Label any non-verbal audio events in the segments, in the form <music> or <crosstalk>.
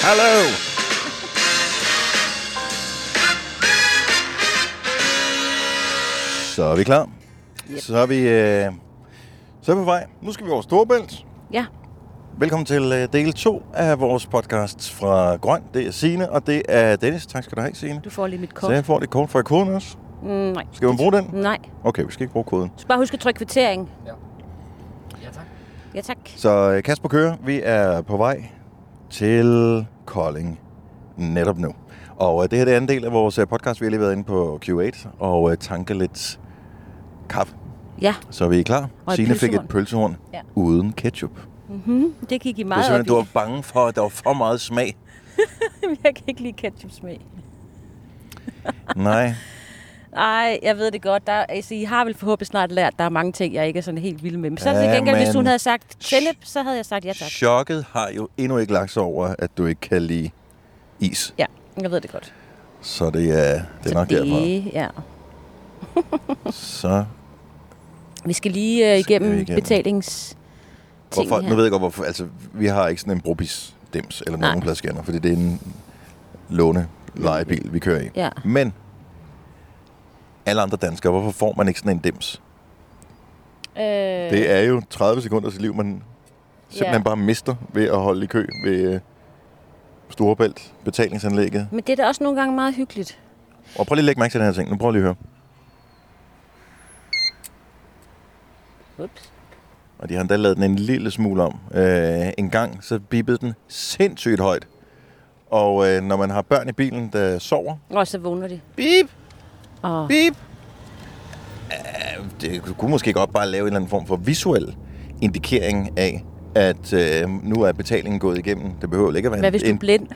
Hello. Så er vi klar. Yep. Så er vi, øh, så er vi på vej. Nu skal vi over Storebælt. Ja. Velkommen til øh, del 2 af vores podcast fra Grøn. Det er Signe, og det er Dennis. Tak skal du have, Signe. Du får lige mit kort. Så jeg får det kort fra koden også. Mm, nej. Skal man bruge den? Nej. Okay, vi skal ikke bruge koden. Du skal bare huske at trykke kvittering. Ja, tak. Ja, tak. Så øh, Kasper kører. Vi er på vej til Kolding netop nu. Og øh, det her det er anden del af vores øh, podcast. Vi har lige været inde på Q8 og øh, tanke lidt kaffe. Ja, Så er vi klar. Og et Signe fik et pølsehorn. pølsehorn ja. Ja. uden ketchup. Det det gik I var meget op simpelthen, du i. var bange for, at der var for meget <laughs> smag. jeg kan ikke lide ketchup smag. Nej, Nej, jeg ved det godt. Der, altså, I har vel forhåbentlig snart lært, at der er mange ting, jeg ikke er sådan helt vild med. Men så til Ja, gengæld, hvis men- hun havde sagt sennep, så havde jeg sagt ja tak. chokket har jo endnu ikke lagt sig over, at du ikke kan lide is. Ja, jeg ved det godt. Så det er, det er nok det, derfor. Ja. Så Vi skal lige uh, Skal vi igennem, igennem? betalings... Hvorfor? her. Nu ved jeg godt, hvorfor. Altså, vi har ikke sådan en brobis dims eller Nej. nogen pladskanner, fordi det er en låne lejebil, vi kører i. Ja. Men alle andre danskere, hvorfor får man ikke sådan en dims? Øh, Det er jo 30 sekunder til liv, man simpelthen Ja. bare mister ved at holde i kø ved øh, Storebælt, betalingsanlægget. Øh, Men det er da også nogle gange meget hyggeligt. Og prøv lige at lægge mærke til den her ting. Nu prøv lige at høre. Ups. Og de har endda lavet den en lille smule om. Øh, en gang, så bippede den sindssygt højt. Og øh, når man har børn i bilen, der sover, Og så vågner de. bip, Og Beep. Uh, det kunne måske godt bare lave en eller anden form for visuel indikering af, at øh, nu er betalingen gået igennem. Det behøver jo ikke at være hvad hvis du en... er blind?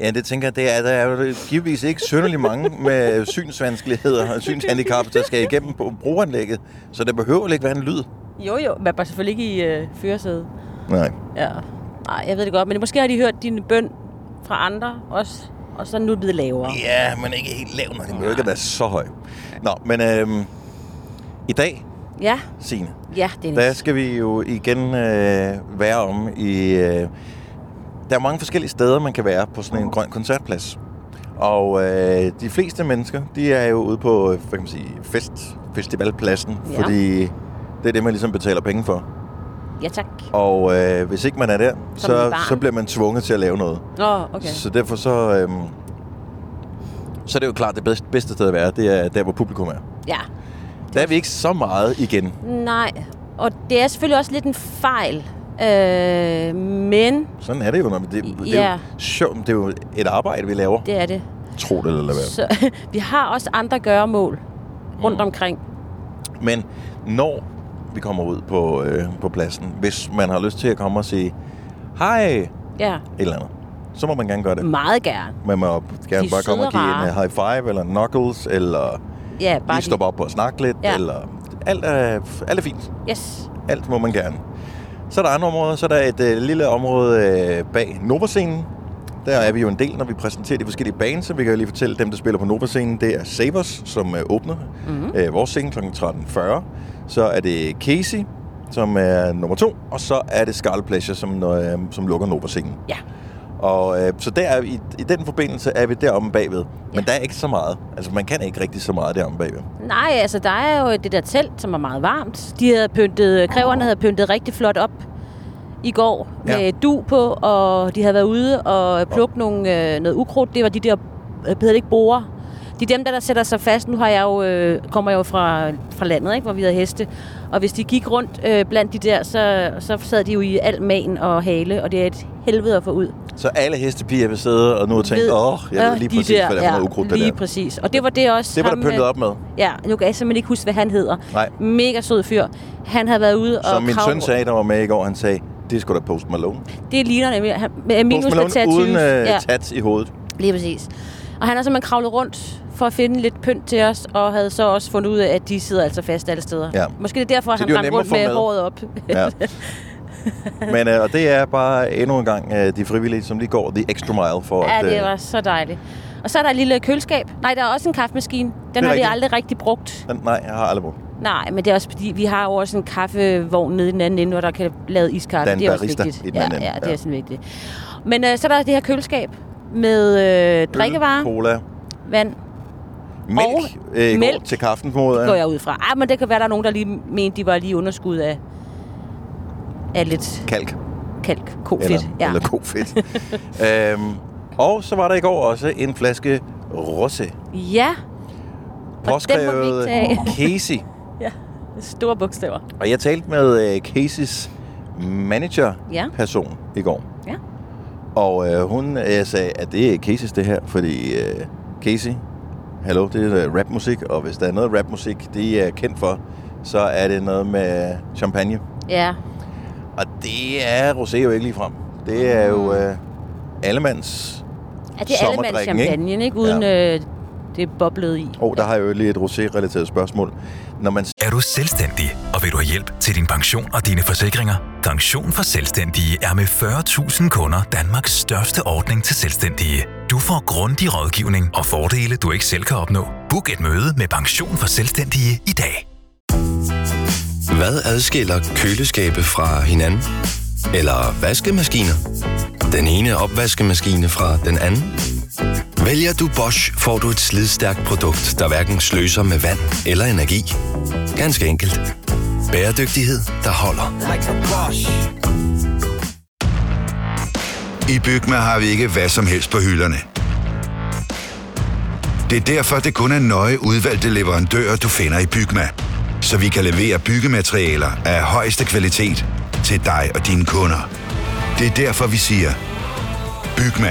Ja, det tænker jeg, det er, der er jo givetvis ikke synderlig mange med synsvanskeligheder og synshandicap, der skal igennem på brugeranlægget. Så der behøver ikke være en lyd. Jo, jo. Men bare selvfølgelig ikke i øh, førersædet. Nej. Ja. Nej, jeg ved det godt. Men måske har de hørt din bøn fra andre også. Og så er den nu blevet lavere. Ja, men ikke helt lav, når den behøver ikke at være så høj. Nå, men øh, i dag, Ja, Signe, ja Dennis. Der skal vi jo igen øh, være om i... Øh, der er mange forskellige steder, man kan være på sådan en grøn koncertplads. Og øh, de fleste mennesker, de er jo ude på øh, hvad kan man sige, fest, festivalpladsen, ja. Ja. fordi det er det, man ligesom betaler penge for. Ja, tak. Og øh, hvis ikke man er der, et så, barn. så bliver man tvunget til at lave noget. Nå, okay. Så derfor så... Øh, så er det jo klart, det bedste, bedste sted at være, det er der, hvor publikum er. Ja. Der er vi ikke så meget igen. Nej. Og det er selvfølgelig også lidt en fejl. Øh, men Sådan er det jo. når vi- Det, det, er Ja. jo sjovt. det er jo et arbejde, vi laver. det er det. Tro det eller lad være. Så, <laughs> vi har også andre gøremål rundt omkring. Men når vi kommer ud på, øh, på pladsen, hvis man har lyst til at komme og sige hej et Ja, eller andet, så må man gerne gøre det. meget gerne. Man må gerne Mm. De bare komme og søde give en rare. øh, high five, eller knuckles, eller Ja, bare bare lige stoppe op og snakke lidt, Ja. eller alt er, alt er fint. Yes. Alt må man gerne. Så er der andre områder. Så er der et øh, lille område øh, bag Novascenen. Der er vi jo en del, når vi præsenterer de forskellige baner, så vi kan jo lige fortælle dem, der spiller på Novascenen. Det er Sabers, som øh, åbner mm-hmm. øh, vores scene kl. 13.40. Så er det Casey, som er nummer to. Og så er det Scarlet Pleasure, som, øh, som lukker Novascenen. Ja. Og øh, så der er, vi- i, i den forbindelse er vi deromme bagved. Men Ja. der er ikke så meget. Altså, man kan ikke rigtig så meget deromme bagved. Nej, altså der er jo det der telt, som er meget varmt. De havde pyntet, kræverne havde pyntet rigtig flot op i går Ja. ja. med du på, og de havde været ude og plukke nogle, øh, noget ukrudt. Det var de der, øh, hedder det ikke, borer. De er dem, der, der sætter sig fast. Nu har jeg jo, øh, kommer jeg jo fra, fra landet, ikke, hvor vi havde heste. Og hvis de gik rundt øh, blandt de der, så, så sad de jo i al man og hale, og det er et helvede at få ud. Så alle hestepiger vil sidde og nu og tænke, åh, jeg ved lige de præcis, hvad det er for noget ukrudt, det lige der. præcis. Og det var det også. Det var der ham, pyntet øh, op med. Ja, nu kan jeg simpelthen ikke huske, hvad han hedder. Nej. Mega sød fyr. Han havde været ude og Som min kravle- søn sagde, der var med i går, han sagde, det skulle da Post Malone. Det ligner nemlig. Han, med minus Post med Malone tattoos. uden øh, ja, tat i hovedet. lige præcis. Og han har simpelthen kravlet rundt for at finde lidt pynt til os, og havde så også fundet ud af, at de sidder altså fast alle steder. Ja. Måske det er derfor, Så han de var rendte nemme at rundt få med, med. håret op. <laughs> Ja. Men øh, og det er bare endnu en gang øh, de frivillige, som lige går the extra mile for at... <laughs> ja, det øh, var så dejligt. Og så er der et lille køleskab. Nej, der er også en kaffemaskine. Den er har rigtigt. vi aldrig rigtig brugt. den- Nej, jeg har aldrig brugt. Nej, men det er også fordi, vi har jo også en kaffevogn nede i den anden ende, hvor der kan lave iskaffe. Der er en det er barista også vigtigt. i den anden ende, ja, ja, det ja. er sådan vigtigt. Men øh, så er der det her køleskab med øh, drikkevarer, Øl, cola, vand, mælk, øh, mælk. mælk. Går til kaffen, måde. går jeg ud fra. Ah, men det kan være, der er nogen, der lige mente, de var lige underskud af, af lidt Kalk. kalk, Eller, kofedt. ja. eller <laughs> kofedt. øhm, og så var der i går også en flaske rosé. ja, Påskrevet tage. Casey. store bogstaver. Og jeg talte med øh, Caseys Ja. manager-person ja. i går. Ja. Og øh, hun øh, sagde, at det er Caseys det her, fordi øh, Casey, hallo, det er øh, rapmusik, og hvis der er noget rapmusik, de er kendt for, så er det noget med champagne. Ja, Og det er rosé jo ikke ligefrem. Det er jo øh, allemands... er det allemands Sommerdrikken, ikke? champagne, ikke? Uden ja. øh, det er boblet i. Åh, oh, der har jeg jo lige et rosé-relateret spørgsmål. Når man Er du selvstændig, og vil du have hjælp til din pension og dine forsikringer? Pension for Selvstændige er med 40.000 kunder Danmarks største ordning til selvstændige. Du får grundig rådgivning og fordele, du ikke selv kan opnå. Book et møde med Pension for Selvstændige i dag. Hvad adskiller køleskabe fra hinanden? Eller vaskemaskiner? Den ene opvaskemaskine fra den anden? Vælger du Bosch, får du et slidstærkt produkt, der hverken sløser med vand eller energi. Ganske enkelt. Bæredygtighed, der holder. I Bygma har vi ikke hvad som helst på hylderne. Det er derfor, det kun er nøje udvalgte leverandører, du finder i Bygma. Så vi kan levere byggematerialer af højeste kvalitet til dig og dine kunder. Det er derfor, vi siger, Bygma.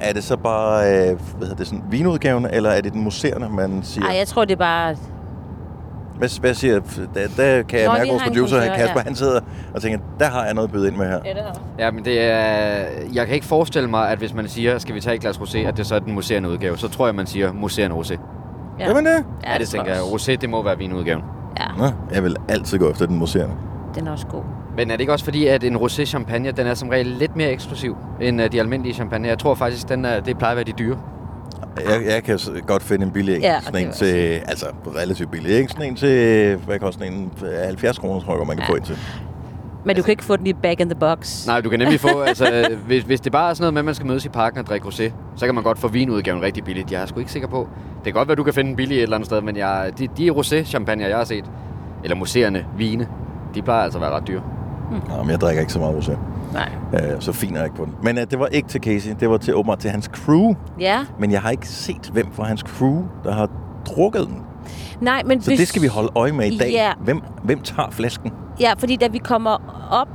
er det så bare øh, hvad hedder det, sådan, vinudgaven, eller er det den muserende, man siger? Nej, jeg tror, det er bare... Hvad, hvad siger der, der kan jeg Nå, mærke vi vores har en producer, frisør, Kasper, ja. han sidder og tænker, der har jeg noget at byde ind med her. Ja, det har Ja, men det er... Jeg kan ikke forestille mig, at hvis man siger, skal vi tage et glas rosé, at det så er den museerende udgave. Så tror jeg, man siger museerende rosé. Ja. Jamen det? Ja, det tænker jeg. Rosé, det må være vinudgaven. Ja, Nå, jeg vil altid gå efter den muserende. den er også god. Men er det ikke også fordi, at en rosé champagne, den er som regel lidt mere eksklusiv end øh, de almindelige champagne? Jeg tror faktisk, den er, det plejer at være de dyre. Jeg, jeg kan s- godt finde en billig en. Ja, sådan det en vil jeg til, altså relativt billig, ikke? Sådan en til, hvad koster sådan en? 70 kroner, tror jeg, godt, man kan ja. få en til. Men du kan ikke få den i bag in the box. Nej, du kan nemlig <laughs> få, altså, øh, hvis, hvis det bare er sådan noget med, at man skal mødes i parken og drikke rosé, så kan man godt få vinudgaven rigtig billigt. Jeg er sgu ikke sikker på. Det kan godt være, du kan finde en billig et eller andet sted, men jeg, de, de rosé-champagner, jeg har set, eller museerne, vine, de plejer altså at være ret dyre. Nå, men jeg drikker ikke så meget rosé. Nej. Øh, så fint er jeg ikke på den. Men øh, det var ikke til Casey, det var til åbenbart til hans crew. Ja, Men jeg har ikke set, hvem fra hans crew, der har drukket den. nej, men Så det skal vi holde øje med i dag. Ja. Hvem, hvem tager flasken? Ja, fordi da vi kommer op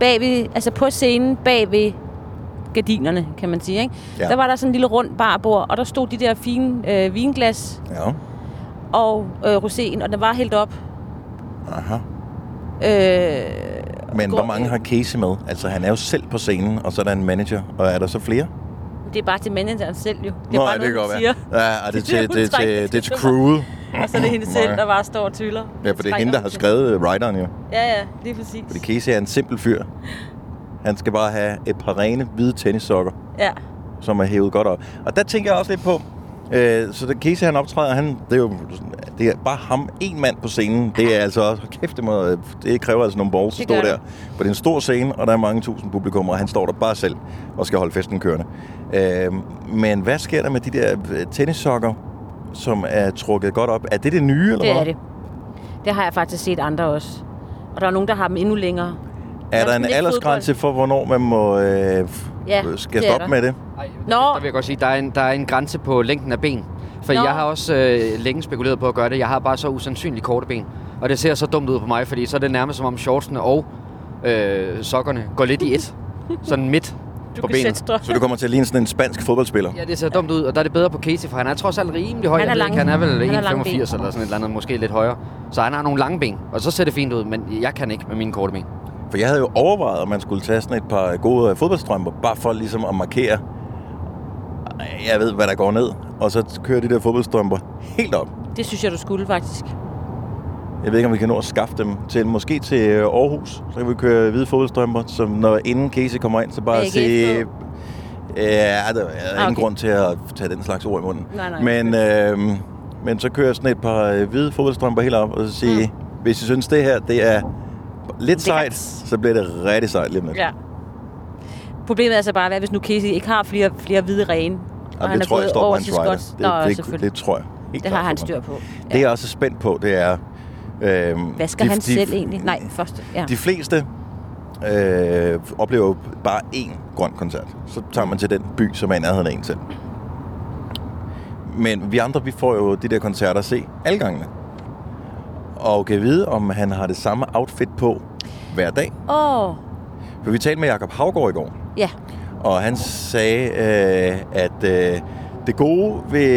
bag ved, altså på scenen bag ved gardinerne, kan man sige, ikke? Ja. Ja. der var der sådan en lille rund barbord, og der stod de der fine øh, vinglas Ja. og øh, roséen, og den var helt op. Aha. Øh, Men Går- hvor mange har Casey med? Altså, han er jo selv på scenen, og så er der en manager. Og er der så flere? det er bare til manageren selv jo. Det Nå, er bare ja, det noget, kan hun godt siger. være. Ja, og det er til, Det er hun det, er trækker til, det er til <laughs> til crewet. Og så er det hende Nej. selv, der bare står og tyller. Ja, for det er Trækker hende, der hun har til. skrevet øh, writeren jo. Ja, ja, lige præcis. Fordi Casey er en simpel fyr. Han skal bare have et par rene, hvide tennissokker, Ja. som er hævet godt op. Og der tænker jeg også lidt på, øh, så da Casey han optræder, han, det er jo sådan- det er bare ham, en mand på scenen. Det er altså også, hold kæft, det, må, det kræver altså nogle balls at stå Det gør der. det. For det er en stor scene, og der er mange tusind publikummer, og han står der bare selv og skal holde festen kørende. Øh, men hvad sker der med de der øh, tennissokker, som er trukket godt op? Er det det nye, eller Det er hvad? det. Det har jeg faktisk set andre også. Og der er nogen, der har dem endnu længere. Er der sådan en lidt aldersgrænse for, hvornår man må, øh, f- Ja, øh, det skal er stoppe der. med det? Ej, Nå. Der vil jeg godt sige, der er en, der er en grænse på længden af ben. For Nå. jeg har også øh, længe spekuleret på at gøre det. Jeg har bare så usandsynligt korte ben. Og det ser så dumt ud på mig, fordi så er det nærmest som om shortsene og øh, sokkerne går lidt <laughs> i et. Sådan midt Du på kan benet. sætte strøm. Så du kommer til at ligne sådan en <laughs> spansk fodboldspiller? Ja, det ser dumt ud, og der er det bedre på Casey, for han er trods alt rimelig høj. Han er Jeg ved lang. ikke, Han er vel Han er lang 1,85 eller sådan et eller andet, måske lidt højere. Så han har nogle lange ben, og så ser det fint ud, men jeg kan ikke med mine korte ben. For jeg havde jo overvejet, om man skulle tage sådan et par gode øh, fodboldstrømper, bare for ligesom at markere, jeg ved, hvad der går ned. Og så kører de der fodboldstrømper helt op. Det synes jeg, du skulle faktisk. Jeg ved ikke, om vi kan nå at skaffe dem til, måske til øh, Aarhus. Så kan vi køre hvide fodboldstrømper, som når inden Casey kommer ind, så bare Begge sige... på. Ja, der er okay. ingen okay. grund til at tage den slags ord i munden. Nej, nej. Men, øh, men så kører jeg sådan et par øh, hvide fodboldstrømper helt op, og så sige, mm. hvis I synes, det her det er lidt sejt, Lækkert. så bliver det rigtig sejt lige med. Ja. Problemet er så bare, hvad hvis nu Casey ikke har flere, flere hvide rene? Jamen, det tror jeg står på hans rider. Scott. Det, Nå, det, det, det, selvfølgelig. det tror jeg. Helt Det, det klart har på han mig. styr på. Det jeg også er spændt på, det er... Øh, Vasker han selv egentlig? Nej, først. Ja. De fleste øh, oplever jo bare én grøn koncert. Så tager man til den by, som er i nærheden af en selv. Men vi andre, vi får jo de der koncerter at se alle gangene. Og kan vide, om han har det samme outfit på hver dag. Åh, oh, For vi talte med Jakob Havgård i går, ja. og han sagde, øh, at øh, det gode ved,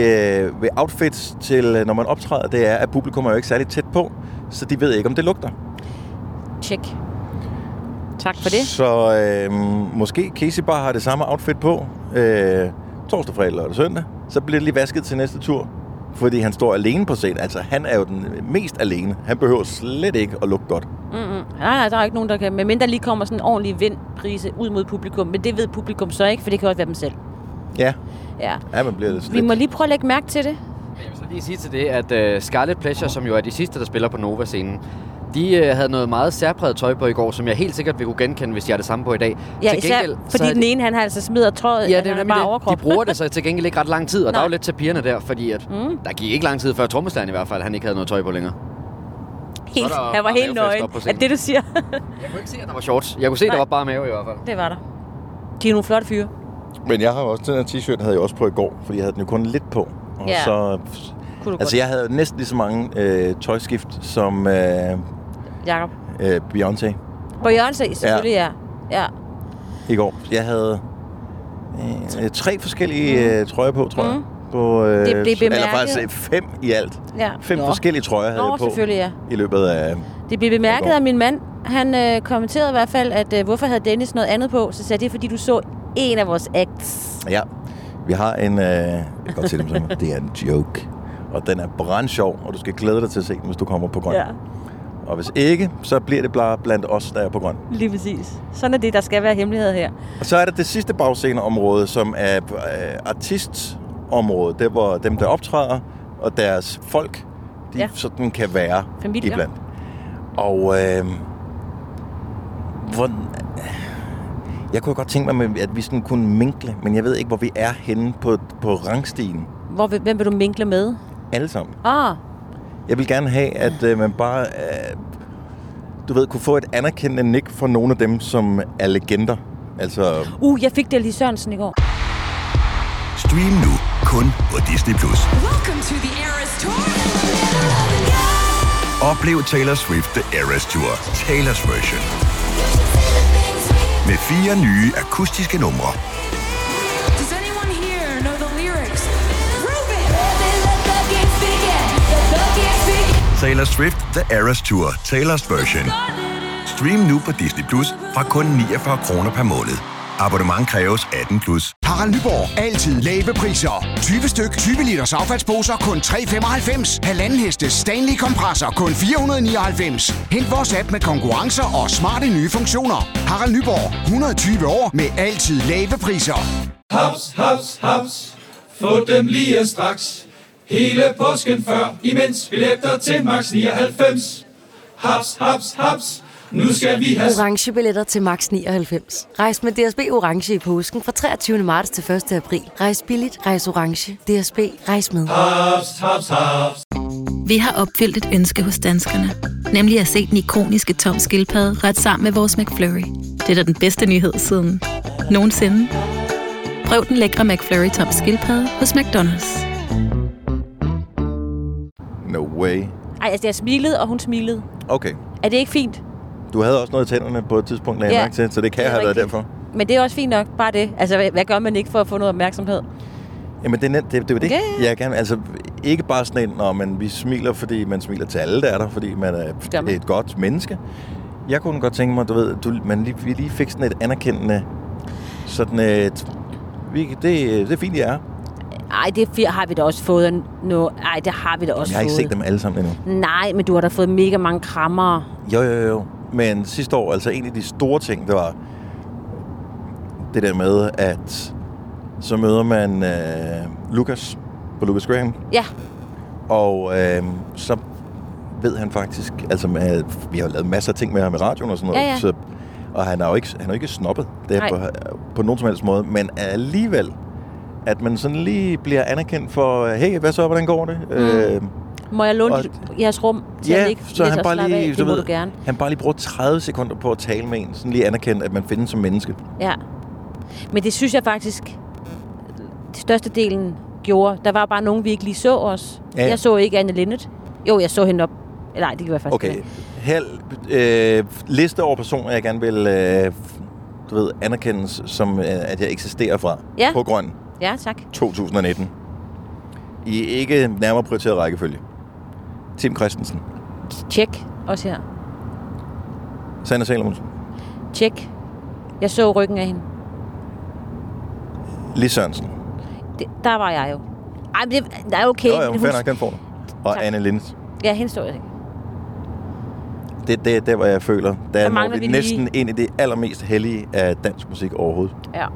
ved outfits til, øh, når man optræder, det er, at publikum er jo ikke særlig tæt på, så de ved ikke, om det lugter. Tjek. Tak for det. Så øh, måske Casey bare har det samme outfit på øh, torsdag, fredag, lørdag, søndag. Så bliver det lige vasket til næste tur. Fordi han står alene på scenen. Altså, han er jo den mest alene. Han behøver slet ikke at lugte godt. Mm-mm. Nej, nej, der er ikke nogen, der kan. Men der lige kommer sådan en ordentlig vindprise ud mod publikum. Men det ved publikum så ikke, for det kan også være dem selv. Ja, Ja. ja man bliver lidt... Vi må lige prøve at lægge mærke til det. Jeg vil så lige sige til det, at uh, Scarlet Pleasure, som jo er de sidste, der spiller på Nova-scenen, de uh, havde noget meget særpræget tøj på i går, som jeg helt sikkert vil kunne genkende, hvis jeg har det samme på i dag. Ja, til især, gengæld, så fordi er den ene, han har altså smider tøjet, Ja, han det er har jo bare nemlig det. De overkrop. bruger <laughs> det så til gengæld ikke ret lang tid, og der Nej. er jo lidt til pigerne der, fordi at Mm. mm. der gik ikke lang tid før trommeslæren i hvert fald, han ikke havde noget tøj på længere. Helt, Så er der han var bare helt mavefest nøgen. op på Er scenen. det, du siger? <laughs> Jeg kunne ikke se, at der var shorts. Jeg kunne se, at Nej. der var bare mave i hvert fald. det var der. De er nogle flotte fyre. Men jeg har jo også den her t-shirt, havde jeg også på i går, fordi jeg havde den jo kun lidt på. Og Ja. så, Kunne du altså, jeg havde jo næsten lige så mange øh, tøjskift som øh, godt. Jakob. øh, Beyoncé På Jørgensen, selvfølgelig, ja. Ja. i går. Jeg havde øh, tre forskellige øh, trøjer på, tror jeg. Mm. På, øh, Det blev Eller bemærket. faktisk øh, fem i alt. ja. Fem Nå. forskellige trøjer havde Nå, jeg på selvfølgelig, ja. i løbet af... Det blev bemærket går. af min mand. Han øh, kommenterede i hvert fald, at øh, hvorfor havde Dennis noget andet på? Så sagde jeg, det er, fordi du så en af vores acts. Ja, vi har en... Øh, jeg kan godt se dem som, det er en joke. Og den er brandsjov, og du skal glæde dig til at se den, hvis du kommer på grøn. Og hvis ikke, så bliver det bare blandt os, der er på grøn. lige præcis. Sådan er det, der skal være hemmelighed her. Og så er der det sidste bagsceneområde, som er øh, artistområdet, der hvor dem, der optræder, og deres folk, de ja. Ja. sådan kan være Familier. iblandt. Og øh, hvor, jeg kunne godt tænke mig, at vi sådan kunne minkle, men jeg ved ikke, hvor vi er henne på, på rangstigen. Hvor, vil- hvem vil du minkle med? Alle sammen. Ah, Jeg vil gerne have, at øh, man bare, øh, du ved, kunne få et anerkendende nik fra nogle af dem, som er legender. Altså, uh, jeg fik det lige Sørensen i går. Stream nu kun på Disney+. Plus. Oplev Taylor Swift The Eras Tour, Taylor's version. Med fire nye akustiske numre. Does anyone here know the lyrics? Taylor Swift The Eras Tour, Taylor's version. Stream nu på Disney Plus fra kun 49 kroner per måned. Abonnement kræves 18 plus. Harald Nyborg. Altid lave priser. 20 styk, 20 liters affaldsposer kun 3,95. Halvanden heste Stanley kompresser kun 499. Hent vores app med konkurrencer og smarte nye funktioner. Harald Nyborg. 120 år med altid lave priser. Haps, haps, haps. Få dem lige straks. Hele påsken før, imens billetter til max 99. Haps, haps, haps. Nu skal vi have Orange billetter til max 99. Rejs med DSB Orange i påsken fra 23. marts til 1. april. Rejs billigt, rejs orange. DSB, rejs med. haps, haps, haps. Vi har opfyldt et ønske hos danskerne. Nemlig at se den ikoniske tom skildpadde ret sammen med vores McFlurry. Det er da den bedste nyhed siden nogensinde. Prøv den lækre McFlurry tom skildpadde hos McDonald's. no way. Ej, altså jeg smilede, og hun smilede. Okay. Er det ikke fint? Du havde også noget i tænderne på et tidspunkt, lagde jeg Ja. mærke til, så det kan Det er have været rigtigt. derfor. Men det er også fint nok, bare det. Altså, hvad, hvad gør man ikke for at få noget opmærksomhed? Jamen, det er nemt. Det, det er jo det. Okay. Jeg gerne, altså, ikke bare sådan en, når man, vi smiler, fordi man smiler til alle, der er der, fordi man er Jamen. et godt menneske. Jeg kunne godt tænke mig, du ved, du, man lige, vi lige fik sådan et anerkendende, sådan et, vi, det, det er fint, I er. Ej, det er fire har vi da også fået. No, ej, det har vi da også Jeg har ikke fået. set dem alle sammen endnu. Nej, men du har da fået mega mange krammer. Jo, jo, jo. Men sidste år, altså en af de store ting, det var det der med, at så møder man øh, Lucas på Lucas Graham, Ja, og øh, så ved han faktisk, altså med, vi har jo lavet masser af ting med ham i radioen og sådan noget, Ja, ja. Så, og han er jo ikke, han er jo ikke snobbet det er Nej. på, på nogen som helst måde, men alligevel, at man sådan lige bliver anerkendt for, hey, hvad så, hvordan går det? Mm. Øh, må jeg låne Og- dit, jeres rum til at ligge så lidt han og bare slappe lige, af? Det må ved, du gerne. han bare lige bruger 30 sekunder på at tale med en, sådan lige anerkendt, at man findes som menneske. Ja. Men det synes jeg faktisk, det største delen gjorde. Der var bare nogen, vi ikke lige så os. Ja, ja. Ja. Jeg så ikke Anne Linnet. Jo, jeg så hende op. Eller Nej, det kan jeg faktisk Okay, ikke. Hel, øh, liste over personer, jeg gerne vil øh, du ved, anerkendes, som øh, at jeg eksisterer fra. Ja. På Grøn Ja, tak. 2019. I ikke nærmere prioriteret rækkefølge. Tim Christensen, Tjek også her. Sander Salomonsen, Tjek. Jeg så ryggen af hende. Lis Sørensen. Det, der var jeg jo. Ej, men det, nej, okay. jo, jo, hun... men fair nok, den får du. Og Anne Lindes. Ja, hende så jeg ikke. Det er der, der, hvor jeg føler, der, Der der mangler når vi, vi vi lige- næsten ind i det allermest hellige af dansk musik overhovedet. Ja.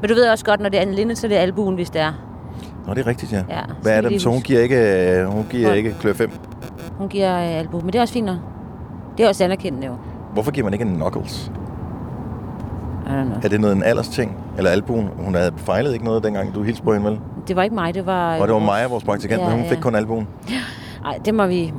Men du ved også godt, når det er Anne Linnet, så er det albuen, hvis det er. Nå, det er rigtigt, ja. Ja, Hvad er skal vi det? lige Så hun huske. giver ikke, øh, hun giver Hold. ikke klør 5. Hun giver øh, albuen, men det er også fint nok. Det er også anerkendende jo. Hvorfor giver man ikke en knuckles? Er det noget en alders ting? Eller albuen? Hun havde fejlet ikke noget, dengang du hilste på hende, vel? Det var ikke mig, det var... Og det var Maja, vores praktikant, Ja, ja, men hun ja. fik kun albuen. Nej, det må vi... <clears throat>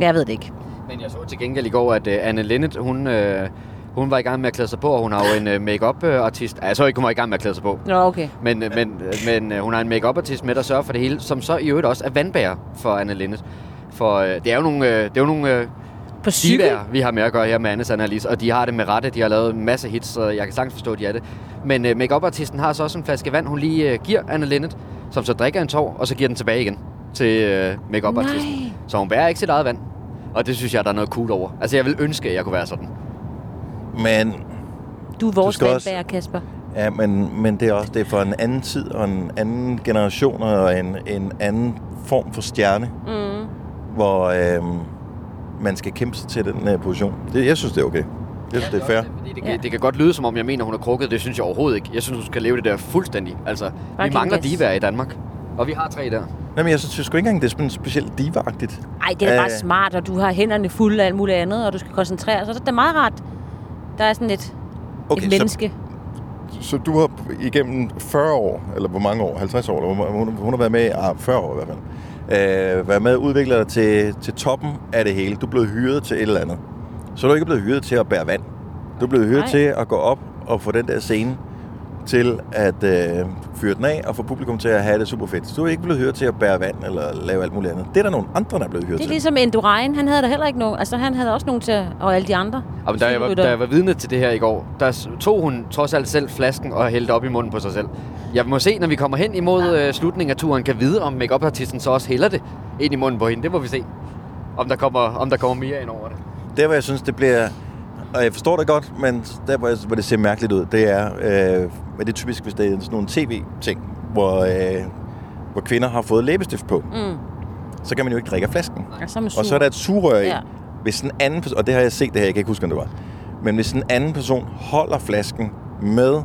Jeg ved det ikke. Men jeg så til gengæld i går, at øh, Anne Linnet, hun, øh, hun var i gang med at klæde sig på, og hun har jo en øh, make-up-artist. Ej, jeg så ikke, hun var i gang med at klæde sig på. Nå, okay. Men, øh, men, øh, men øh, hun har en make-up-artist med, der sørger for det hele, som så i øvrigt også er vandbærer for Anne Linnet. For øh, det er jo nogle, øh, det er jo nogle øh, på cykel? vi har med at gøre her med Annes Analyse, og de har det med rette. De har lavet en masse hits, så jeg kan sagtens forstå, at de er det. Men øh, make-up-artisten har så også en flaske vand, hun lige øh, giver Anne Linnet, som så drikker en tår, og så giver den tilbage igen til øh, make-up-artisten. Nej. Så hun bærer ikke sit eget vand. Og det synes jeg, der er noget cool over. Altså, jeg vil ønske, at jeg kunne være sådan. Men... Du er vores skal også- vandbærer, Kasper. Ja, men, men det er også det er for en anden tid og en anden generation og en, en anden form for stjerne, Mm. hvor øhm, man skal kæmpe sig til den her position. Det, jeg synes, det er okay. Jeg synes, det er fair. Fordi det, kan, det kan godt lyde, som om jeg mener, hun er krukket. Det synes jeg overhovedet ikke. Jeg synes, hun skal leve det der fuldstændig. Altså, vi Fucking mangler yes. divaer i Danmark. Og vi har tre der. Nej, men jeg synes sgu ikke engang, det er sådan specielt divagtigt. Ej, det er da bare Øh. smart, og du har hænderne fulde af alt muligt andet, og du skal koncentrere dig. Så det er da meget rart. Der er sådan et, okay, Okay, et så- menneske. Så du har igennem 40 år, eller hvor mange år, 50 år, eller hvor- hun, hun har været med i ah, 40 år i hvert fald, øh, været med og udviklet dig til, til toppen af det hele. Du er blevet hyret til et eller andet. Så er du ikke blevet hyret til at bære vand. Du er blevet hyret Nej. Nej. til at gå op og få den der scene til at øh, fyre den af og få publikum til at have det super fedt. Så du er ikke blevet hyret til at bære vand eller lave alt muligt andet. Det er der nogle andre, der er blevet hyret Det er til. ligesom Endurain. Han havde der heller ikke nogen. Altså, han havde også nogen til, og alle de andre. Og da, jeg var, da jeg var vidne til det her i går, der s- tog hun trods alt selv flasken og hældte op i munden på sig selv. Jeg må se, når vi kommer hen imod øh, slutningen af turen, kan vide, om make artisten så også hælder det ind i munden på hende. Det må vi se, om der kommer, om der kommer mere ind over det. Der, hvor jeg synes, det bliver... Og jeg forstår det godt, men der, hvor, jeg, hvor det ser mærkeligt ud, det er... Øh, men det er typisk, hvis det er sådan nogle tv-ting, hvor, øh, hvor kvinder har fået læbestift på. Mm. Så kan man jo ikke drikke af flasken. Ja, så er man sur. Og så er der et sugerør i. Ja. Ja. Hvis en anden person... Og det har jeg set det her, jeg kan ikke huske, om det var. Men hvis en anden person holder flasken med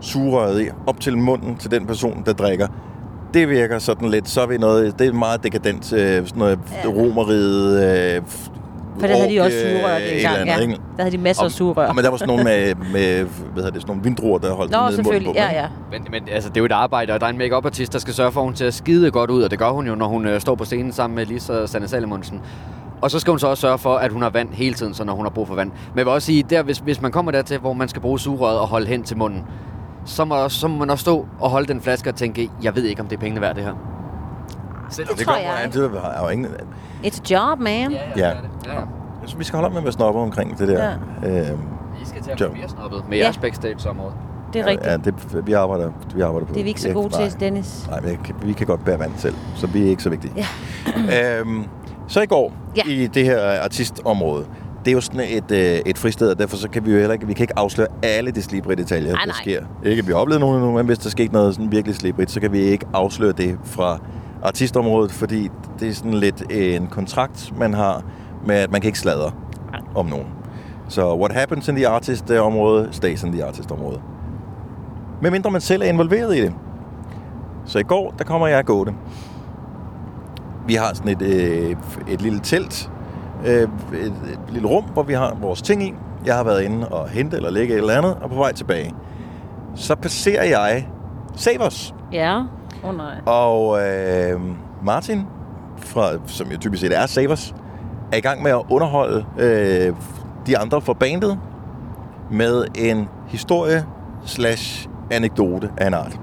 sugerøret i, op til munden til den person, der drikker, det virker sådan lidt, så er vi noget, det er meget dekadent, øh, sådan noget ja. romeriet, øh, For der havde de også ork, øh, sugerør et eller dengang, andet, ja. Altså ikke? Der havde de masser af sugerør. Men der var sådan nogle med, med hvad hedder det, sådan nogle vindruer, der holdt Nå, ned i munden selvfølgelig. på. Ja, ja. Men, men altså, det er jo et arbejde, og der er en make artist der skal sørge for, at hun til at skide godt ud, og det gør hun jo, når hun øh, står på scenen sammen med Lisa og Sanne Salomonsen. Og så skal hun så også sørge for, at hun har vand hele tiden, så når hun har brug for vand. Men jeg vil også sige, der, hvis, hvis man kommer dertil, hvor man skal bruge sugerøret og holde hen til munden, så må, så må man også stå og holde den flaske og tænke, jeg ved ikke, om det er pengene værd, det her. Selv det tror jeg ikke. Det var jo ingen... It's a job, man. Ja, Ja. Ja, ja. Jeg synes, vi skal holde op med at være snobber omkring det der. Ja. Øh, I skal til at Jo. blive mere snobbet med Ja. jeres backstage-område. Det er rigtigt. ja, det, vi arbejder, vi arbejder på Det er vi ikke så Ja, gode til, nej. Dennis. Nej, men jeg, kan- vi kan godt bære vand selv, så vi er ikke så vigtige. Ja. <clears throat> øhm, så i går, Ja. ja. i det her artistområde, det er jo sådan et, øh, et fristed, og derfor så kan vi jo heller ikke, vi kan ikke afsløre alle de slibrige detaljer, Nej, der nej. sker. Ikke at vi har oplevet nogen endnu, men hvis der skete noget sådan virkelig slibrigt, så kan vi ikke afsløre det fra artistområdet, fordi det er sådan lidt en kontrakt, man har med, at man kan ikke sladre om nogen. Så what happens in the artist-område, stays in the artist-område. Medmindre man selv er involveret i det. Så i går, der kommer jeg gående. Vi har sådan et, øh, et lille telt, øh, et, et lille rum, hvor vi har vores ting i. Jeg har været inde og hente eller lægge et eller andet, og på vej tilbage. Så passerer jeg Savers. Ja. Åh oh, nej. Og øh, Martin, fra, som jo typisk set er Savers, er i gang med at underholde øh, de andre fra bandet med en historie slash anekdote af en art.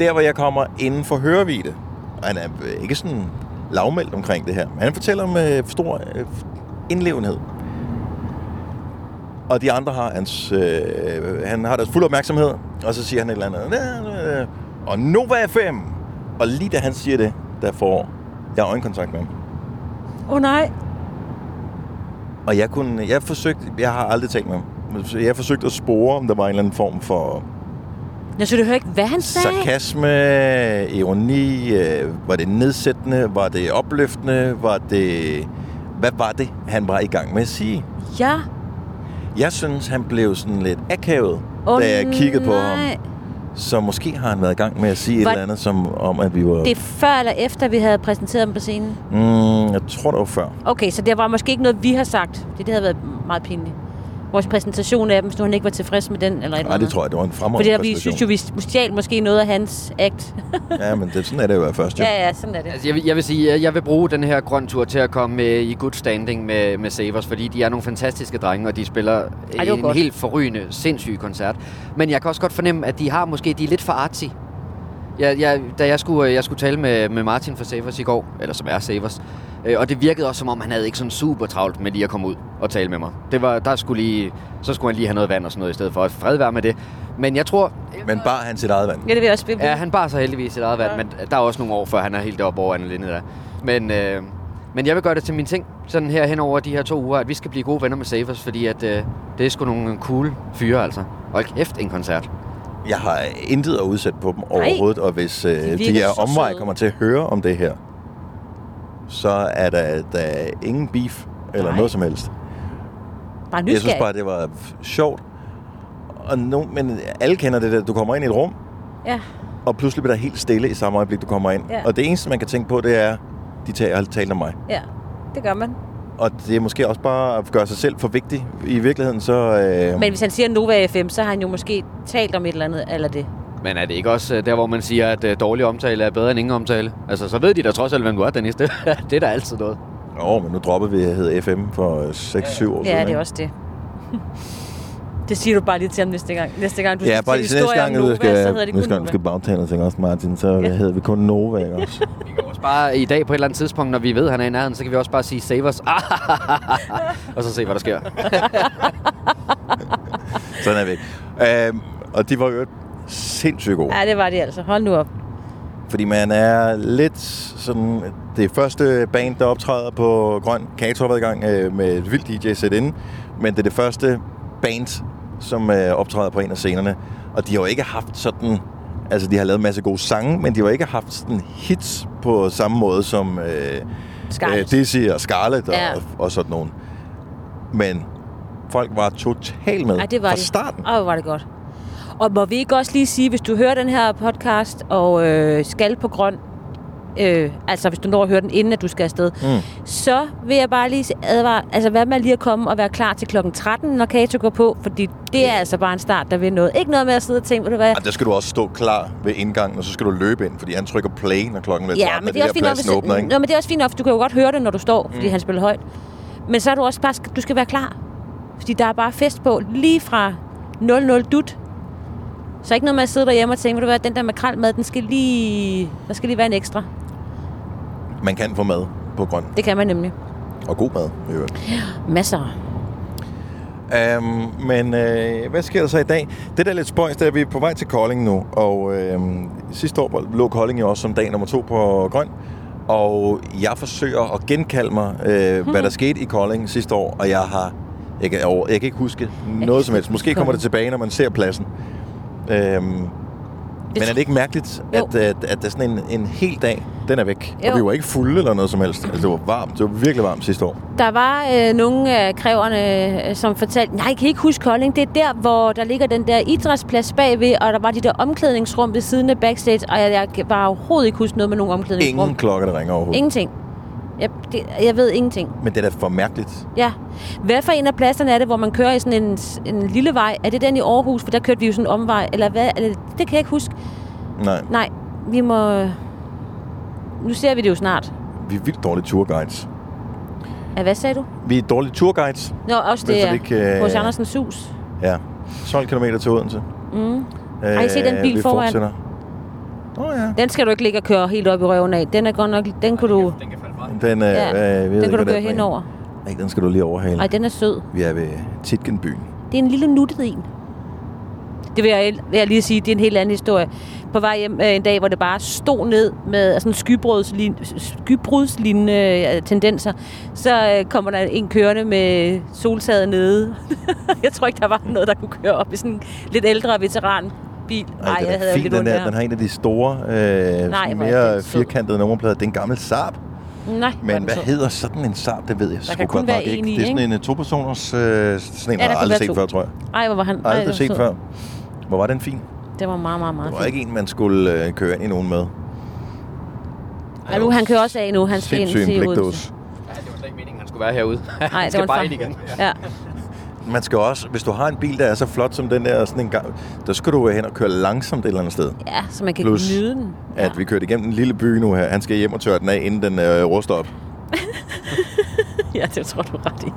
Der, hvor jeg kommer inden for hørevidde, og han er øh, ikke sådan lavmældt omkring det her, men han fortæller om øh, stor øh, indlevenhed. Og de andre har hans, øh, han har deres fuld opmærksomhed, og så siger han et eller andet, "Næ, næ, næ." og Nova FM. Og lige da han siger det, der får jeg øjenkontakt med ham. Åh oh, nej. Og jeg kunne, jeg forsøgte, jeg har aldrig talt med ham, men så jeg forsøgte at spore, om der var en eller anden form for Jeg synes, du hører ikke, hvad han sagde. sarkasme, ironi, øh, var det nedsættende, var det opløftende, var det, hvad var det, han var i gang med at sige? Ja. Jeg synes, han blev sådan lidt akavet, Åh, da jeg kiggede på ham. nej. Så måske har han været i gang med at sige et Var- eller andet, som om, at vi var... Det er før eller efter, vi havde præsenteret dem på scenen. Mm, jeg tror, det var før. Okay, så det var måske ikke noget, vi har sagt. Det, det havde været meget pinligt. Vores præsentation af dem, så han ikke var tilfreds med den, eller et eller Nej, andet. det tror jeg, det var en fremragende Fordi der, vi præsentation. synes jo, vi stjal måske noget af hans act. Ja, men det, sådan er det jo af først, jo. <laughs> ja, ja, sådan er det. Altså, jeg, vil- jeg vil sige, jeg, jeg vil bruge den her grøn tur til at komme med i good standing med, med Savers, fordi de er nogle fantastiske drenge, og de spiller var Ej, en godt. helt forrygende, sindssyg koncert. Men jeg kan også godt fornemme, at de har måske, de er lidt for artsy. Jeg, jeg, da jeg skulle, øh, jeg skulle tale med, med Martin fra Savers i går, eller som er Savers, øh, og det virkede også, som om han havde ikke sådan super travlt med lige at komme ud og tale med mig. Det var, der skulle lige, så skulle han lige have noget vand og sådan noget i stedet for. Fred være med det. Men jeg tror... Men bar han sit eget vand? Ja, det vil jeg også blive. Ja, han bar sig heldigvis sit eget vand, men der er også nogle år, før han er helt oppe over Anna Linde der. Men, øh, men jeg vil gøre det til min ting, sådan her hen over de her to uger, at vi skal blive gode venner med Savers, fordi at, øh, det er sgu nogle cool fyre, altså. Og kæft en koncert. Jeg har intet at udsætte på dem overhovedet, og hvis øh, de, virker her så omvej søde. kommer til at høre om det her, så er der, der er ingen beef eller Nej. noget som helst. Bare Jeg synes nysgerrig. bare, det var f- sjovt. Og no, men alle kender det der, du kommer ind i et rum, Ja. og pludselig bliver der helt stille i samme øjeblik, du kommer ind. Ja. Og det eneste, man kan tænke på, det er, de tager har talt om mig. ja, det gør man. Og det er måske også bare at gøre sig selv for vigtig. I virkeligheden så... Øh, Men hvis han siger Nova FM, så har han jo måske talt om et eller andet, eller det. Men er det ikke også øh, der, hvor man siger, at øh, dårlig omtale er bedre end ingen omtale? Altså, så ved de da trods alt, hvem du er, Dennis. <laughs> Det, det er da altid noget. Åh, men nu dropper vi, jeg hed FM for 6-7 år siden. Ja, det ikke? er også det. <laughs> det siger du bare lige til ham næste gang. Næste gang, du ja, skal bare til lige til næste historie om gang, Nova, du så skal, hedder det nu kun skal, Nova. nu skal bagtale ting også, Martin, så ja. hedder vi kun Nova, ikke <laughs> også? Også bare i dag på et eller andet tidspunkt, når vi ved, at han er i nærheden, så kan vi også bare sige Savers. <laughs> og så se, hvad der sker. Sådan er vi ikke. Øhm, og de var jo sindssygt gode. Ja, det var det altså. Hold nu op. Øh, Fordi man er lidt sådan... Det første band, der optræder på Grøn Kato har været i gang øh, med et vildt DJ sæt inde. Men det er det første band, som øh, optræder på en af scenerne. Og de har jo ikke haft sådan... Altså, de har lavet en masse gode sange, men de har jo ikke haft sådan hits på samme måde som... Øh, Scarlett. Øh, Dizzy og Scarlett og, Ja. ja. og sådan nogen. Men folk var totalt med Ej, det var fra det. starten. Åh, hvor var det godt. Og må vi ikke også lige sige, hvis du hører den her podcast og øh, skal på grøn, øh, altså hvis du når at høre den, inden at du skal afsted, Mm. så vil jeg bare lige advare, altså hvad med lige at komme og være klar til klokken 13, når Kato går på, fordi det er altså bare en start, der vil noget. Ikke noget med at sidde og tænke, ved du hvad, Ej, der skal du også stå klar ved indgangen, og så skal du løbe ind, fordi han trykker play, når klokken er 13, Ja, og men det de er, der også fint nok, hvis, pladsen åbner, ikke? Nå, men det er også fint nok, for du kan jo godt høre det, når du står, fordi Mm. mm. han spiller højt. Men så er du også bare, du skal være klar. Fordi der er bare fest på, lige fra 00 dut. Så ikke noget med at sidde derhjemme og tænke, ved du hvad, den der makrelmad, den skal lige, der skal lige være en ekstra. Man kan få mad på grøn, Det kan man nemlig. og god mad, i øvrigt. Masser. Um, men øh, hvad sker der så i dag? Det der er lidt spøjst, det er, at vi er på øhm, vej til Kolding nu, og øh, sidste år lå Kolding jo også som dag nummer to på grøn, Og jeg forsøger at genkalde mig, øh, <laughs> hvad der skete i Kolding sidste år, og jeg har... Jeg kan, over- jeg kan ikke huske noget som helst. Måske kommer det tilbage, når man ser pladsen. Øhm, men er det ikke mærkeligt, at, øh, at, at der er sådan en, en hel dag, den er væk? Jo. Jo. Og vi var ikke fulde eller noget som helst. Altså, det var varmt. Det var virkelig varmt sidste år. Der var øh, nogle af kræverne, øh, som fortalte, nej, jeg kan ikke huske Kolding, det er der, hvor der ligger den der idrætsplads bagved, og der var de der omklædningsrum ved siden af backstage, og jeg, jeg var overhovedet ikke huske noget med nogen omklædningsrum. Ingen klokker, der ringer overhovedet. Ingenting. Jeg, det, jeg ved ingenting. Men det er da for mærkeligt. Ja. Hvad for en af pladserne er det, hvor man kører i sådan en, en lille vej? Er det den i Aarhus? For der kørte vi jo sådan en omvej. Eller hvad? Eller, det kan jeg ikke huske. Nej, Nej, vi må... Nu ser vi det jo snart. vi er vildt dårlige turguides. Ja, hvad sagde du? Vi er dårlige turguides. Nå, også Men det så er vi ikke, øh, hos Andersens hus. Ja. 12 km til Odense. Øh, Mm. Har I set den bil vi foran? fortsætter. Oh, ja. Den skal du ikke ligge og køre helt op i røven af. Den er godt nok... Den kunne du... Den, Den, øh, øh, jeg ved den ikke, kunne hvad du køre er for en. henover. Nej, den skal du lige overhale. Nej, den er sød. Vi er ved Titgenbyen. Det er en lille nuttet en. Det vil jeg, vil jeg lige sige, det er en helt anden historie. På vej hjem øh, en dag, hvor det bare stod ned med altså sådan skybrudslignende, skybrudslignende øh, tendenser, så øh, kommer der en kørende med soltaget nede. <laughs> jeg tror ikke, der var noget, der kunne køre op i sådan en lidt ældre veteranbil. Nej, den jeg er havde fin, lidt den ondt der. her. Den har en af de store, øh, sådan hvor er den mere sød. firkantede nummerplader. Det er en gammel Saab. Nej, hvor er Men den hvad sød. hedder sådan en Saab? Det ved jeg Der sgu kan kun godt nok være ikke. en i, det er sådan ikke? en øh, to-personers... Øh, sådan en Ja, har der jeg kunne aldrig være set to. før, tror jeg. Ej, hvor var han? Ej, Aldrig hvor set sød. før. Hvor var den fin? Det var meget, meget, meget Der var ikke en, man skulle øh, køre ind i nogen med. Ej, nu, han kører også af nu. Han skal ind Sindssygt en til Odense. blikdås. Han skulle være herude. Nej, Han det var skal en bare far. ind igen. Ja. Man skal også, hvis du har en bil, der er så flot som den der, og sådan en gang, der skal du øh, hen og køre langsomt et eller andet sted. ja, så man kan Plus, nyde den. at vi kørte igennem en lille by nu her. Han skal hjem og tørre den af, inden den øh, ruster op. <laughs> Ja, det tror du ret i.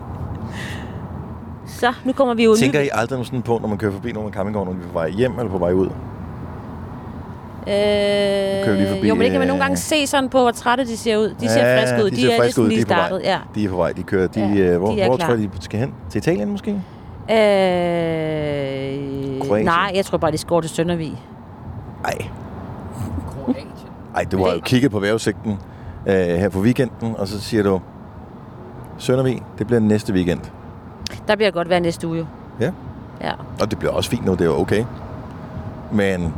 Så, nu kommer vi jo Tænker I aldrig sådan på, når man kører forbi nogen af campingvognen, om vi er på vej hjem eller på vej ud? kører vi lige forbi, Øh, jo, men det kan man nogle gange øh, se sådan på, hvor trætte de ser ud. De ser friske ud. De, ser friske er ligesom ud, de lige er på vej. startet. Ja. De er på vej, de kører. De, Ja, ja, de øh, hvor, er hvor klar. tror I, de skal hen? Til Italien måske? Øh, Kroatien. nej, jeg tror bare, de skår til Søndervig. Nej. Ej, du har jo kigget på vejrudsigten øh, her på weekenden, og så siger du, Søndervig, det bliver næste weekend. Der bliver godt vejr næste uge. jo. Ja. Ja. Og det bliver også fint nu, det er jo okay. Men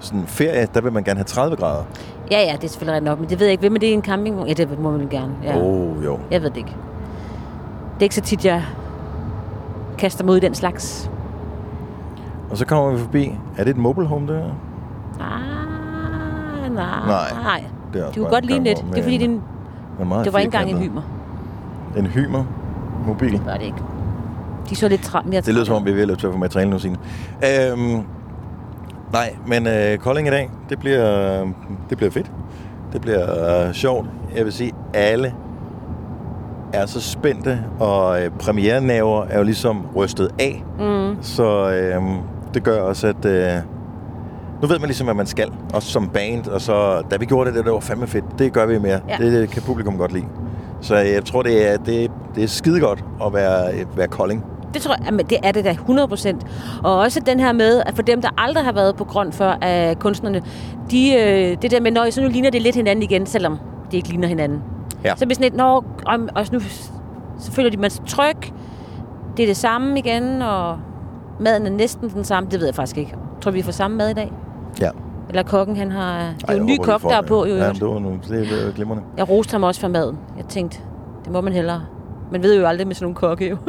sådan ferie, der vil man gerne have 30 grader. ja, ja, det er selvfølgelig ret nok, men det ved jeg ikke. Hvem er det i en campingvogn? Ja, det må man gerne. Ja. Oh, jo. Jeg ved det ikke. Det er ikke så tit, jeg kaster mig ud i den slags. Og så kommer vi forbi. Er det et mobile home, det her? Ah, nej. Nej. nej. Det er også Det bare kunne godt en øh, ligne lidt. campingvogn Det er fordi, med det, er en- en, Den er meget det var ikke engang en firkantet. hymer. En hymer mobil. Det var det ikke. De så lidt træt mere Det lyder som om, vi er ved at løbe tør for materiale nu, Signe. Øhm, nej, men øh, Kolding i dag, det bliver, øh, det bliver fedt. Det bliver øh, sjovt. Jeg vil sige, alle er så spændte, og øh, premierenaver er jo ligesom rystet af. Mm. Så øh, det gør også, at øh, nu ved man ligesom, hvad man skal. Også som band, og så da vi gjorde det, det var fandme fedt. Det gør vi mere. Ja. Ja. Det kan publikum godt lide. Så jeg tror, det er, det, det er skidegodt at være, øh, være Kolding. Det tror jeg, jamen, det er det da 100%. Og også den her med, at for dem, der aldrig har været på grøn før af kunstnerne, de, øh, det der med, når så nu ligner det lidt hinanden igen, selvom det ikke ligner hinanden. Ja. Så bliver sådan lidt, nå, om, og nu, så føler de, man sig tryg. Det er det samme igen, og maden er næsten den samme. Det ved jeg faktisk ikke. Tror vi får samme mad i dag? Ja. Eller kokken, han har... Det er jo jeg en ny håber, vi kok, får der er det. på, jo. i Ja, øvrigt. men det var nu, det er glimrende. Jeg roste ham også for maden. Jeg tænkte, det må man hellere. Man ved jo aldrig med sådan nogle kokke, jo. <laughs>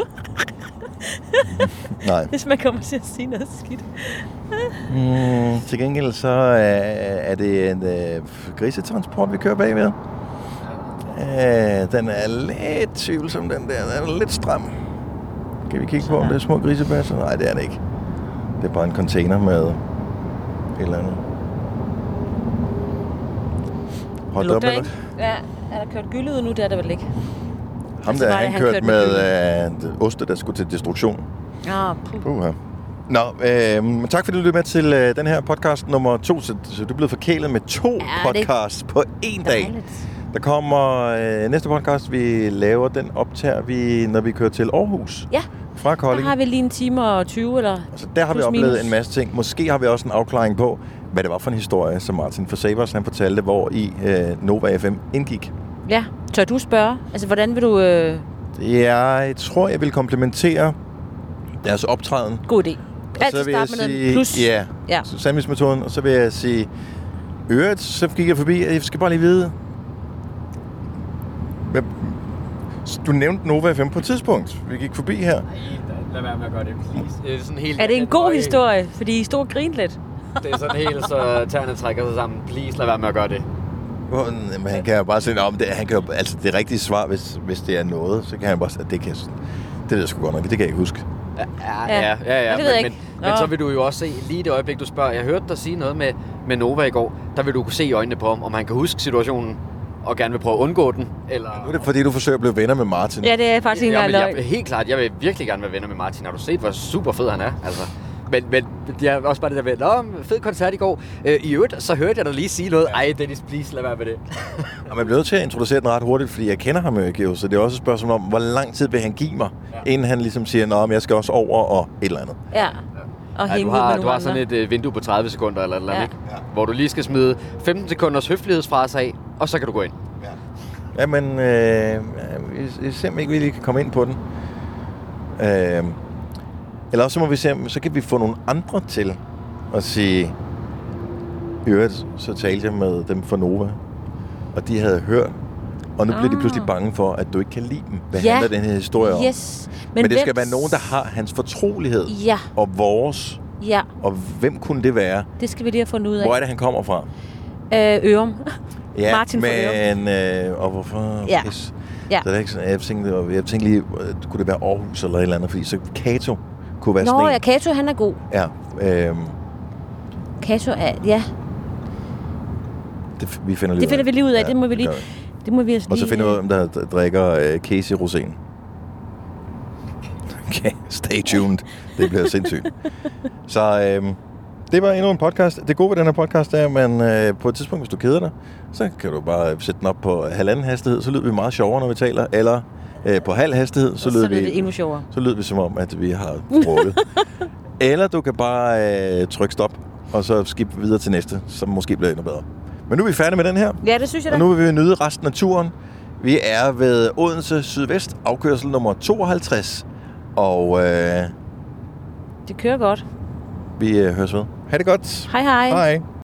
Nej. Hvis man kommer til at sige noget skidt. <laughs> Mm, til gengæld så øh, er det en øh, grisetransport, vi kører bagved. Øh, den er lidt tvivlsom, den der. Den er lidt stram. Kan vi kigge på, om det er små grisebasser? Nej, det er det ikke. Det er bare en container med et eller andet. Hold op, eller? Ja, er der kørt gylde ud nu? Det er der vel ikke. Ham Altså, der, var det, han han kørte kørte med med øh, oste, der skulle til destruktion. Ah, Puha. Nå, øh, men tak fordi du lyttede med til øh, den her podcast nummer to. Så, så du er blevet forkælet med to ja, det er podcasts på én dag. Der kommer øh, næste podcast, vi laver, den optager vi, når vi kører til Aarhus. Ja, Fra der Kolding. Altså- har vi lige en time og 20, eller Der har vi plus oplevet minus. en masse ting. Måske har vi også en afklaring på, hvad det var for en historie, som Martin Forsabers han fortalte, hvor i øh, Nova FM indgik. Ja, tør du spørge? Altså, hvordan vil du... Øh... Jeg tror, jeg vil komplementere deres optræden. God idé. Og Altid så vil jeg starte med noget sige, plus. Ja, Ja. ja. sandwichmetoden. Og så vil jeg sige, øvrigt, så gik jeg forbi, og jeg skal bare lige vide, hvad, du nævnte Nova FM på et tidspunkt. Vi gik forbi her. Lad være med at gøre det, please. Det er sådan helt... Er det en god historie? Fordi I stod og grinede lidt. Det er sådan helt, så tæerne trækker sig sammen. Please, lad være med at gøre det. Hvor- Men han kan jo bare sige, om det, han kan jo, altså det rigtige svar, hvis, hvis det er noget, så kan han bare sige, det kan jeg, det ved jeg sgu godt nok, det kan jeg ikke huske. Ja, Ja. ja, ja. ja, Ja, det ved men, jeg men, ikke. men Nå. så vil du jo også se, lige i det øjeblik, du spørger, jeg hørte dig sige noget med, med Nova i går, der vil du kunne se i øjnene på ham, om han kan huske situationen, og gerne vil prøve at undgå den, eller... Nu er det, fordi du forsøger at blive venner med Martin. Ja, det er faktisk ikke ja, men engang jeg, løgn. Helt klart, jeg vil virkelig gerne være venner med Martin. Har du set, hvor super fed han er? Altså, men, men det er også bare det der med, Nå, fed koncert i går. Øh, I øvrigt, så hørte jeg dig lige sige noget. Ej, Dennis, please, lad være med det. Og man bliver nødt til at introducere den ret hurtigt, fordi jeg kender ham jo ikke, jo, så det er også et spørgsmål om, hvor lang tid vil han give mig, ja. inden han ligesom siger, nå, men jeg skal også over og et eller andet. Ja. Og Ej, hænge du ud med har, du nogle har andre. sådan et øh, vindue på 30 sekunder eller et eller andet, Ja. ja. hvor du lige skal smide 15 sekunders høflighedsfrase af, og så kan du gå ind. Jamen, øh, jeg, jeg ser, om ikke vi lige kan komme ind på den. Øh, eller også så må vi se, om- så kan vi få nogle andre til at sige, i øvrigt, så talte jeg med dem fra Nova, og de havde hørt, og nu ah. bliver de pludselig bange for, at du ikke kan lide dem. Hvad Ja. ja. handler den her historie om? Yes. Men Men, Men det hvem- skal være nogen, der har hans fortrolighed Ja. og vores. Ja, Og hvem kunne det være? det skal vi lige have fundet ud af. Hvor er det, han kommer fra? Øh, Ørum. Martin fra Ørum. men, øh, og hvorfor? Ja. Pis. Ja. Så det er ikke sådan, jeg tænkte, jeg tænkte lige, øh, kunne det være Aarhus eller et eller andet, fordi så Kato kunne være Nå, sådan ja, en. Kato, han er god. Ja, øh, Kato er, ja, det, f- vi finder lige det finder vi lige ud af. Ja, det må vi lige... gør Det må vi altså Og så lige... finder vi ud af, hvem der d- drikker øh, Casey Rosen. Okay, stay tuned. <laughs> Det bliver sindssygt. Så øh, det var endnu en podcast. Det gode ved den her podcast er, at man, øh, på et tidspunkt, hvis du keder dig, så kan du bare sætte den op på halvanden hastighed, så lyder vi meget sjovere, når vi taler. Eller øh, på halv hastighed, så, lyder så lyder vi, det endnu sjovere. så lyder vi som om, at vi har <laughs> brugt. eller du kan bare øh, trykke stop, og så skip videre til næste, som måske bliver endnu bedre. Men nu er vi færdige med den her. Ja, det synes jeg da. Og nu vil vi nyde resten af turen. Vi er ved Odense Sydvest, afkørsel nummer 52. Og øh, Det kører godt. vi øh, høres ved. Ha' det godt. Hej hej. Hej.